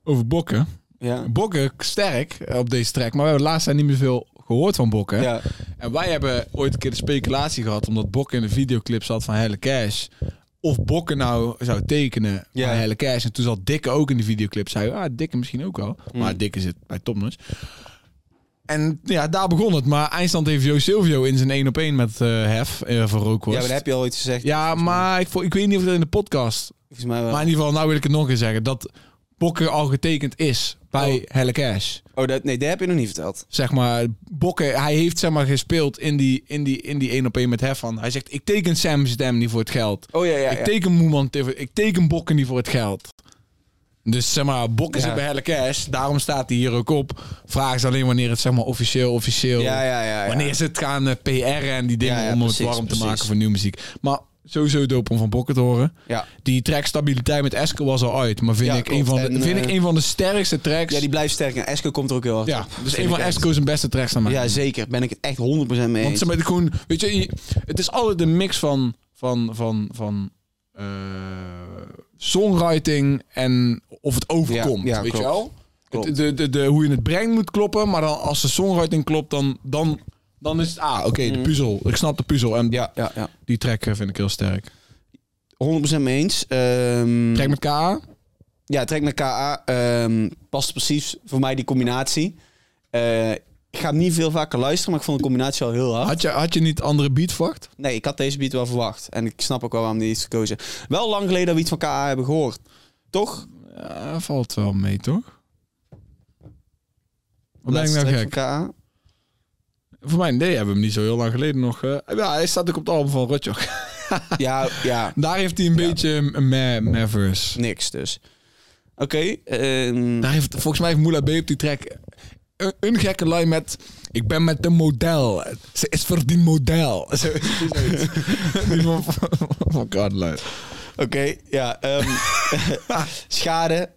over Bokken. Ja. Bokken sterk eh, op deze track, maar we hebben laatst tijd niet meer veel gehoord van Bokken. ja. En wij hebben ooit een keer de speculatie gehad, omdat Bokken in de videoclip zat van Helle Cash. Of Bokken nou zou tekenen Ja. bij Helle Cash. En toen Mm. zat Dikke ook in de videoclip. Zei, ah, Dikke misschien ook wel. Maar Dikke zit bij Topnotch. En ja, daar begon het. Maar Eindstand heeft Jo Silvio in zijn 1 op 1 met eh, Hef eh, van Ja, Rookworst. maar daar heb je Oh. al iets gezegd. Ja, maar ik, vo- ik weet niet of dat in de podcast. Volgens mij wel. Maar in ieder geval, nou wil ik het nog eens zeggen. Dat Bokke al getekend is bij Oh. Helle Cash. Oh, dat, nee, dat heb je nog niet verteld. Zeg maar, Bokke, hij heeft zeg maar gespeeld in die, in die, in die 1 op 1 met Hef van. Hij zegt, ik teken Sam Stem niet voor het geld. Oh ja, ja. ik teken Moeman, te- ik teken Bokken niet voor het geld. Dus zeg maar, Bokken Ja. zit bij Helle Cash. Daarom staat hij hier ook op. Vraag is alleen wanneer het zeg maar officieel, officieel... ja, ja, ja, ja. Wanneer ze het gaan eh, PR'en en die dingen Ja, ja, om het precies, warm te precies. maken voor nieuwe muziek. Maar sowieso dope om van Bokken te horen. Ja. Die track Stabiliteit met Eske was al uit. Maar vind, Ja, ik, klopt. een van de, En, vind eh, ik een van de sterkste tracks. ja, die blijft sterk. En Esco komt er ook heel hard Ja, op. dus Vind een van ik echt. Esco's en beste tracks naar mij. Ja, zeker. Ben ik het echt 100% mee eens. Want ze met gewoon, weet je, je- het is altijd een mix van, van, van, van eh, songwriting en of het overkomt, Ja, ja, weet klopt. je wel? Klopt. Het- De, de, de, hoe je het brengt moet kloppen, maar dan, als de songwriting klopt, dan, dan, dan is het, ah, oké, de puzzel. Ik snap de puzzel en Mhm. Ja, Mhm. ja, ja. die track eh, vind ik heel sterk. 100% mee eens. Ehm, Trek met K. Ja, trek met KA. ehm, past precies voor mij die combinatie. Eh, ik ga hem niet veel vaker luisteren, maar ik vond de combinatie al heel hard. Had je, had je niet andere beat verwacht? Nee, ik had deze beat wel verwacht. En ik snap ook wel waarom die is gekozen. Wel lang geleden dat we iets van KA hebben gehoord. Toch? Eh, Ja, valt wel mee, toch? Wat ben ik Laatste nou track gek? van KA. Voor mij, nee, hebben we hem niet zo heel lang geleden nog. eh, ja, hij staat ook op het album van Rotjoch. Ja, ja. Daar heeft hij een beetje een me- mevers. Niks dus. Oké. ehm, Daar heeft, volgens mij heeft Moula B op die track een, een gekke lijn met... Ik ben met een model. Ze is voor die model. Zo- zoiets. die van, van, van Cardline. Oké, ja. ehm, schade.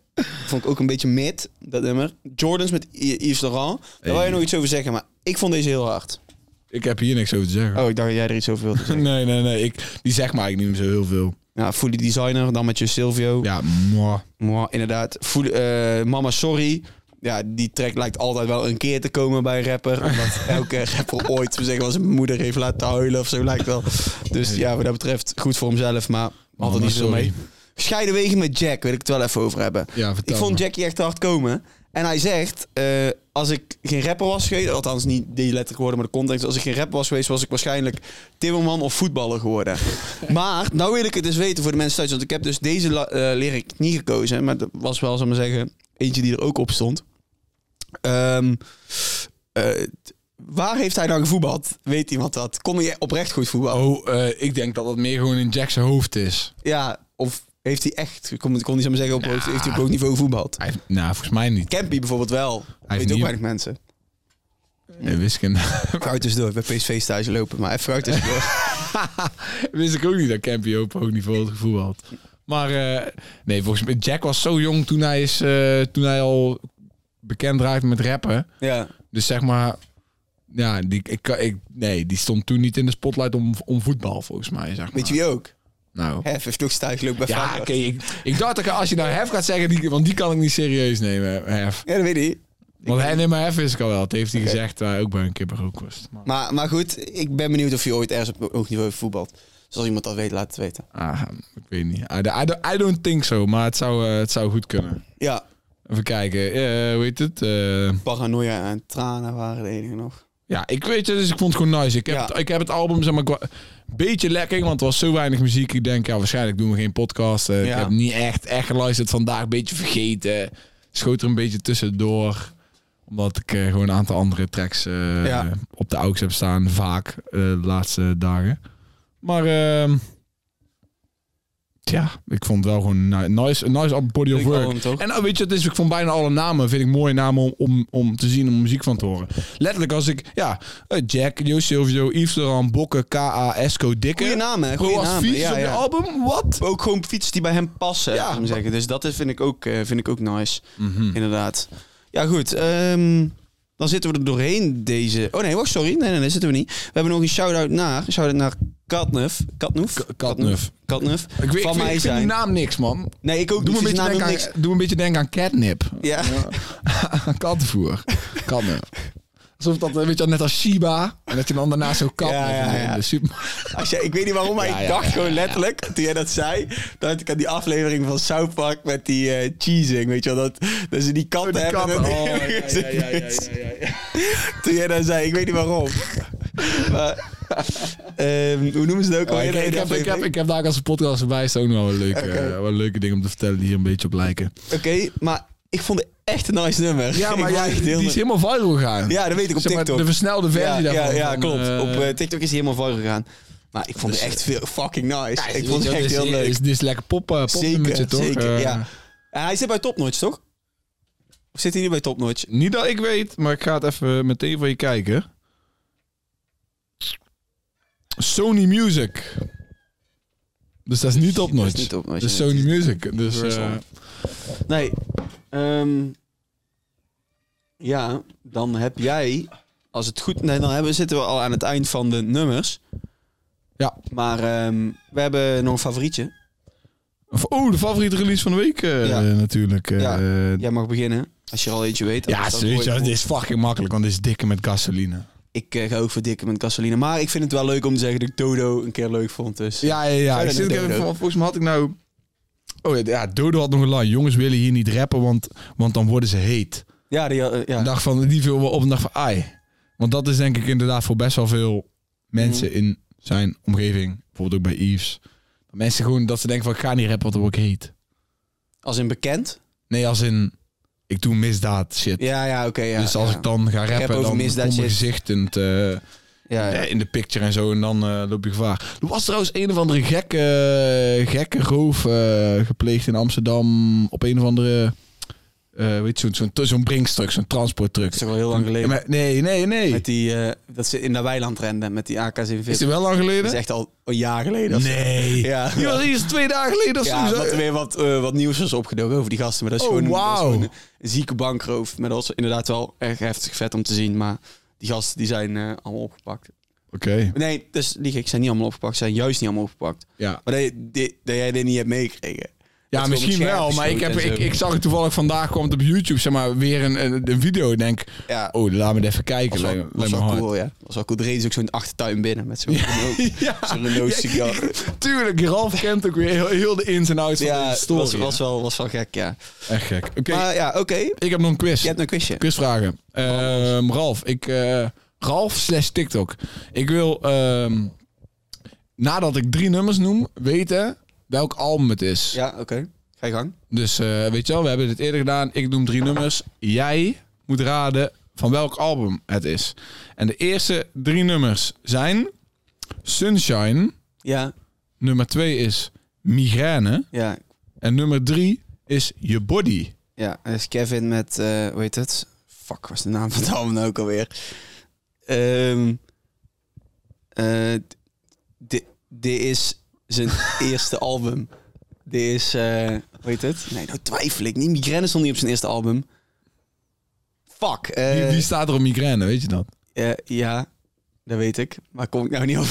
Vond ik ook een beetje mid, dat nummer. Jordans met I- Yves Laurent. Daar wil je nog iets over zeggen, maar ik vond deze heel hard. Ik heb hier niks over te zeggen. Oh, ik dacht dat jij er iets over wilde zeggen. Nee, nee, nee. Ik, die zegt maar eigenlijk niet meer zo heel veel. Nou, Fully Designer, dan met je Silvio. Ja, mwah. Mwah, inderdaad. Fully, eh, Mama Sorry. Ja, die track lijkt altijd wel een keer te komen bij een rapper. Omdat elke rapper ooit, we zeggen, wel zijn moeder heeft laten huilen of zo, lijkt wel. Dus ja, wat dat betreft, goed voor hemzelf, maar altijd niet zo sorry. mee. Scheiden wegen met Jack, wil ik het wel even over hebben. Ja, vertel Ik vond maar. Jackie echt te hard komen. En hij zegt, eh, als ik geen rapper was geweest... Althans, niet die letterlijk geworden, maar de context. Als ik geen rapper was geweest, was ik waarschijnlijk timmerman of voetballer geworden. maar, nou wil ik het dus weten voor de mensen thuis. Want ik heb dus deze la- eh, lyric niet gekozen. Maar dat was wel, zal ik maar zeggen, eentje die er ook op stond. Ehm, eh, t- waar heeft hij dan gevoetbald? Weet iemand dat? Kon je oprecht goed voetballen? Oh, eh, ik denk dat dat meer gewoon in Jack's hoofd is. Ja, of heeft hij echt... Kon, kon hij, zo maar zeggen, op, hoog- heeft hij op hoog niveau gevoetbald? Hij, heeft- nou, volgens mij niet. Campy bijvoorbeeld wel. heeft Weet ook niet- weinig mensen. Nee, wist ik, een- Fruit is door. Bij PSV stage lopen, maar even fruit is door. wist ik ook niet dat Campy op hoog niveau het gevoel had. Maar eh, nee, volgens mij, Jack was zo jong toen hij, is, eh, toen hij al bekend raakte met rappen. ja. Dus zeg maar, ja, die, ik, kan- ik, nee, die stond toen niet in de spotlight om, om voetbal, volgens mij. Zeg maar. Weet je wie ook? Nou. Hef heeft ook stage lopen bij Ja, Feyenoord. oké. ik, ik dacht dat ik- als je nou Hef gaat zeggen, die, want die kan ik niet serieus nemen, Hef. Ja, dat weet hij. Want hij neemt maar Hef is ik al wel. Dat heeft hij gezegd, eh, ook bij een kippenrookworst. Maar- Maar, maar goed, ik ben benieuwd of hij ooit ergens op hoog niveau voetbalt. Dus als iemand dat weet, laat het weten. Ah, ik weet niet. I, don't- I don't- I don't think so, maar het zou, eh, het zou goed kunnen. Ja, Even kijken, eh, hoe heet het? Eh, paranoia en tranen waren de enige nog. ja, ik weet het, dus ik vond het gewoon nice. Ik heb, Ja. het, ik heb het album, zeg maar, qua- een beetje lekker, want er was zo weinig muziek. Ik denk, ja, waarschijnlijk doen we geen podcast. Eh, Ja. Ik heb niet echt, echt geluisterd vandaag, een beetje vergeten. Schoot er een beetje tussendoor, omdat ik eh, gewoon een aantal andere tracks eh, Ja. op de AUX heb staan, vaak eh, de laatste dagen. Maar, ehm ja, ik vond het wel gewoon ni- nice, een nice body of Ik work. album, toch? En nou, weet je, het is, ik vond bijna alle namen, vind ik mooie namen om, om, om te zien, om muziek van te horen. Letterlijk als ik, ja, eh, Jack, Jo Silvio, Yves Laurent, Bokke, K.A., Esco, Dikke. Goeie namen, hè? Bro, Goeie als namen. features Ja, op je ja. album, wat? Ook gewoon fietsen die bij hem passen, Ja. ja. ik zeggen. Dus dat is- vind ik ook, eh, vind ik ook nice, Mhm. inderdaad. Ja, goed. ehm, dan zitten we er doorheen deze... Oh nee, wacht, sorry. Nee, nee, nee, zitten we niet. We hebben nog een shout-out naar... Shout-out naar Katnuf. Katnuf? K- Katnuf. Katnuf. Ik weet, ik Van vind, mij ik vind die zijn. naam niks, man. Nee, ik ook Doe me, niet. een Zijn beetje denken naam ook aan, niks. doe me een beetje denken aan catnip. Ja. Kattenvoer. Katnuf. Alsof dat, eh, weet je, wel, net als Shiba. En dat je dan daarna zo kapt. Ja, ja, ja. In de supermarkt. Als jij, ik weet niet waarom, maar Ja, ik ja, dacht ja, gewoon ja, ja. letterlijk, toen jij dat zei, dat ik aan die aflevering van South Park met die eh, cheesing, weet je wel, dat, dat ze die Oh, katten hebben. en Dus- dat- Toen jij dat zei, ik weet niet waarom. maar, ehm, hoe noemen ze het ook Maar alweer? Oh, ik, ik die heb, ik, heb, aflevering? ik heb daar ook als een podcast erbij staan ook nog wel een leuke, eh, wel leuke dingen om te vertellen die hier een beetje op lijken. Oké, maar ik vond het echt een nice nummer. Ja, Ik maar vond ja, het echt die heel is helemaal viral gegaan. Ja, dat weet ik op Zeg maar, TikTok. de versnelde versie ja, daarvan. ja, van, klopt. eh, Dus, op eh, TikTok is hij helemaal viral gegaan. Maar ik vond het echt veel fucking nice. ik vond het echt heel leuk. Dit is lekker pop, eh, popnummertje, zeker, toch? zeker. Eh, ja. En hij zit bij Top Notch, toch? Of zit hij niet bij Top Notch? Niet dat ik weet, maar ik ga het even meteen voor je kijken. Sony Music. Dus dat is niet op Dat is notch. niet Top Notch, Dat is nee. Sony Music. Dus eh, Universal. Nee. Ehm, ja, dan heb jij, als het goed... Nee, dan hebben, zitten we al aan het eind van de nummers. ja. Maar ehm, we hebben nog een favorietje. Of- Oh, de favoriete release van de week eh, Ja. natuurlijk. eh, Ja. eh, Jij mag beginnen, als je er al eentje weet. ja, Anders dan serieus. gooi ja, ik- Dit is fucking makkelijk, want dit is dikke met gasoline. Ik eh, ga ook voor dikke met Casolina. Maar ik vind het wel leuk om te zeggen dat ik Dodo een keer leuk vond. Dus. Ja, ja, ja. Zou Ik dat zit niet ook even Dodo? van, volgens mij had ik nou... Oh ja, ja, Dodo had nog een lijn. Jongens willen hier niet rappen, want, want dan worden ze heet. Ja, die, eh, ja. Een dag van, die viel wel op een dag van ai. Want dat is denk ik inderdaad voor best wel veel Mm. mensen in zijn omgeving. Bijvoorbeeld ook bij Yves. Dat Mensen gewoon dat ze denken van ik ga niet rappen, want dan word ik heet. als in bekend. Nee, als in ik doe misdaad shit. Ja, ja, oké. ja, dus als ja. ik dan ga rappen, over dan komt misdaad mijn shit. gezicht in, het, eh, Ja, ja. eh, in de picture en zo. En dan eh, loop je gevaar. Er was trouwens een of andere gekke, gekke roof eh, gepleegd in Amsterdam. Op een of andere, eh, weet je, zo'n zo'n zo'n brinkstruck, zo'n transporttruck. Dat is toch wel heel lang geleden. Ja, maar- nee, nee, nee. Met die, eh, dat ze in de weiland renden met die AK-47. Is het wel lang Dat geleden? is echt al een jaar geleden. of zo. Nee. Ja. Die was eerst twee dagen geleden of Ja, zo. dat er weer wat, eh, wat nieuws is opgedoken over die gasten. Maar dat is Oh, gewoon, dat is wauw. gewoon een, een zieke bankroof. Maar dat was inderdaad wel erg heftig vet om te zien. Maar die gasten die zijn eh, allemaal opgepakt. Oké. Nee, dus lieg ik. Zijn niet allemaal opgepakt. Zijn juist niet allemaal opgepakt. Ja. Maar dat, je- dit- dat jij dit niet hebt meegekregen. Dat Ja, ze op misschien het scherm wel, maar ik, heb, geschoten ik, en zo. ik zag het toevallig vandaag kwam het op YouTube, zeg maar, weer een, een, een video. Ik denk, Ja. oh, laat me het even was kijken. wel, Lijkt- was lijkt me wel hard. cool, ja. Dat was wel cool. Er reed ze ook zo'n achtertuin binnen met zo'n Renault- Ja. zo'n Renault Ja, sigaar. Tuurlijk, Ralf kent ook weer heel, heel de ins en outs van Ja, de story. was, was, wel, was wel gek, ja. Echt gek. Oké, Maar ja, oké. ik heb nog een quiz. Je hebt een quizje. Quizvragen. Ehm, Ralf, ik... eh, Ralf slash TikTok. Ik wil, ehm, nadat ik drie nummers noem, weten welk album het is. Ja, oké. Ga je gang. Dus eh, weet je wel, we hebben dit eerder gedaan. Ik noem drie nummers. Jij moet raden van welk album het is. En de eerste drie nummers zijn Sunshine. Ja, Nummer twee is Migraine. ja, En nummer drie is Je Body. Ja, dat is Kevin met, eh hoe heet het? Fuck, was de naam van het album nou ook alweer? Ehm eh, di- Dit is zijn eerste album. Dit is, eh hoe heet het? Nee, nou twijfel ik niet. Migraine stond niet op zijn eerste album. Fuck. eh, Wie, wie staat er op Migraine, weet je dat? eh, ja, dat weet ik. Maar kom ik nou niet op.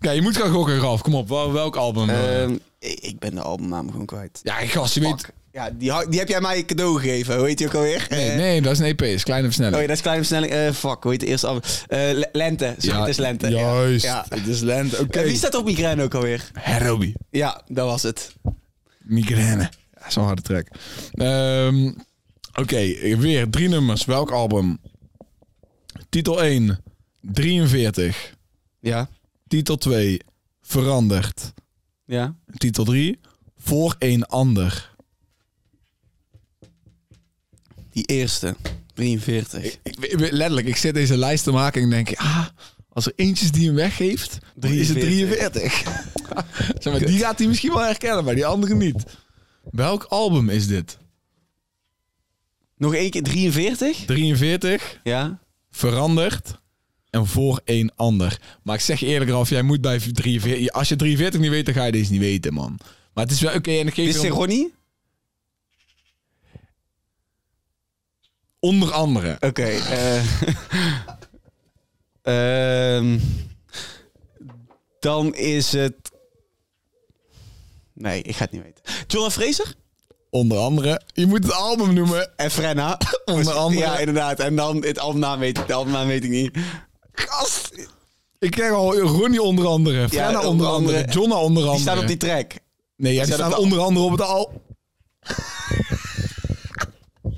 Kijk, je moet gaan gokken, Ralf. Kom op, wel- welk album? eh? Ehm, ik ik ben de albumnaam gewoon kwijt. ja, gast, je weet... Fuck. Ja, die, ha- die heb jij mij cadeau gegeven. Hoe heet die ook alweer? Nee, Eh, nee, dat is een EP, is Kleine Oh Versnelling. ja, dat is kleine versnelling. Eh, fuck, hoe heet de eerste album? Eh, Le- lente. Sorry, het is lente. Ja. Juist, Ja. het is Lent. Oké. En wie staat op migraine ook alweer? Herobi. Ja, dat was het. Migraine. Ja, Zo'n harde track. Ehm, Oké, weer drie nummers. Welk album? Titel 1, 43. Ja, Titel 2, Veranderd. ja. Titel 3, Voor een ander. Die eerste, 43. Ik, ik- letterlijk, ik zit deze lijst te maken en ik denk... Ah, als er eentje is die hem weggeeft, dan is het 43. zeg maar, die gaat hij misschien wel herkennen, maar die andere niet. Welk album is dit? Nog één keer 43? 43, Ja. veranderd en voor een ander. Maar ik zeg je eerlijk, Ralf, jij moet bij 43... Als je 43 niet weet, dan ga je deze niet weten, man. Maar het is wel oké. en ik Dit geef is je het on- Ronnie? onder andere. Oké. eh Ehm, dan is het... Nee, ik ga het niet weten. John Fraser? Onder andere, je moet het album noemen. Efrenna. Onder andere. Ja, inderdaad. En dan het albumnaam weet ik, de albumnaam weet ik niet. Gast! Ik ken al Ronnie onder andere, Frenna onder onder andere, andere. Jonna onder andere. Die staat op die track. Nee, ja, die staat staan op de- onder andere op het al.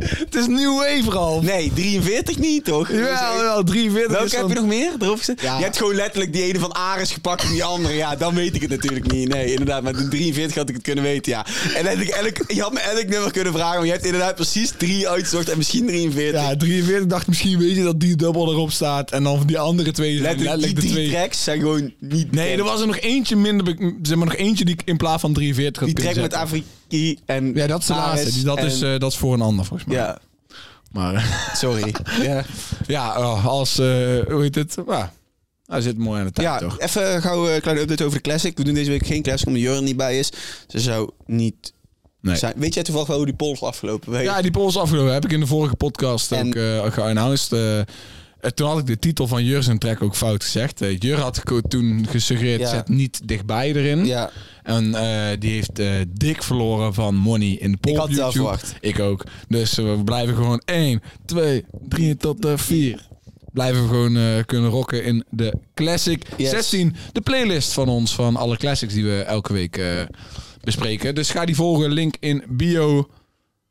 het is New Wave, Ralf. Nee, 43 niet, toch? Jawel, jawel, 43 is Welke heb dan- je nog meer erop gezet? Ja. Je hebt gewoon letterlijk die ene van Ares gepakt en die andere. Ja, dan weet ik het natuurlijk niet. Nee, inderdaad. Maar de 43 had ik het kunnen weten, ja. En had ik elk, je had me elk nummer kunnen vragen. Maar je hebt inderdaad precies drie uitgezocht en misschien 43. Ja, 43 dacht misschien weet je dat die dubbel erop staat. En dan van die andere twee zijn letterlijk, letterlijk de die drie twee. tracks zijn gewoon niet Nee, bekend. er was er nog eentje minder. be- Zeg maar nog eentje die ik in plaats van 43 had Die track kunnen met zetten. Afriki en Ja, dat is de Ares laatste. Die- dat, en- is, eh, dat is voor een ander volgens mij. Ja, Maar eh, sorry. ja. ja, eh, als. eh, hoe heet het? Ja, hij zit mooi aan de tijd Ja, toch? even gauw eh, een kleine update over de Classic. We doen deze week geen Classic, omdat Jurgen niet bij is. Ze zou niet Nee. zijn. Weet jij toevallig wel hoe die poll is afgelopen week? Ja, die poll is afgelopen. Heb ik in de vorige podcast En- ook eh geannounced. Eh, eh, toen had ik de titel van Jur's en track ook fout gezegd. Eh, Jur had geko- toen gesuggereerd, Ja. zet niet dichtbij erin. Ja. En eh, die heeft eh dik verloren van Money in de poll Ik had op het wel YouTube. verwacht. Ik ook. Dus eh, we blijven gewoon 1, 2, 3 tot eh 4. Blijven we gewoon eh, kunnen rocken in de Classic Yes. 16. De playlist van ons, van alle classics die we elke week eh, bespreken. Dus ga die volgen. Link in bio.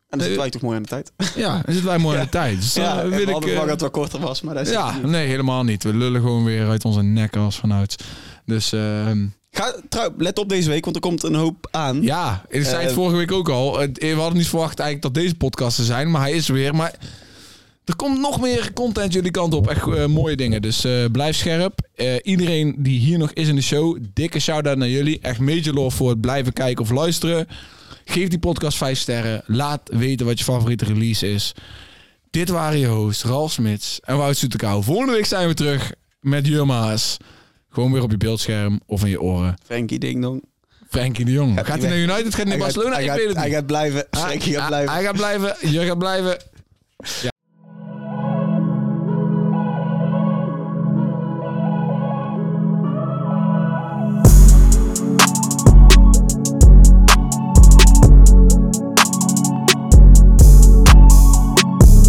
En dat zitten wij toch mooi aan de tijd. Ja, dan zitten wij mooi aan de tijd. Dus, eh, Ja, wil we ik, hadden eh, verwacht dat het wel korter was, maar dat is ja, nee, helemaal niet. We lullen gewoon weer uit onze nek als vanuit. Dus ehm, Ga, trouw, let op deze week, want er komt een hoop aan. ja, ik zei het Eh, vorige week ook al. Het- We hadden niet verwacht eigenlijk dat deze podcast er zijn, maar hij is er weer. Maar er komt nog meer content jullie kant op. Echt eh, mooie dingen. Dus eh, blijf scherp. Eh, iedereen die hier nog is in de show, dikke shout-out naar jullie. Echt major love voor het blijven kijken of luisteren. Geef die podcast 5 sterren. Laat weten wat je favoriete release is. Dit waren je hosts, Ralf Smits en Wout Soetekau. Volgende week zijn we terug met Jurma's. Gewoon weer op je beeldscherm of in je oren. Frankie Ding Dong. Frankie de Jong. Gaat Gaat hij hij naar weg? United? Gaat hij naar Hij gaat- Barcelona? hij Ik gaat- weet het Hij niet. gaat blijven. Frankie gaat Ah, blijven. Hij gaat blijven. Je gaat blijven. Ja.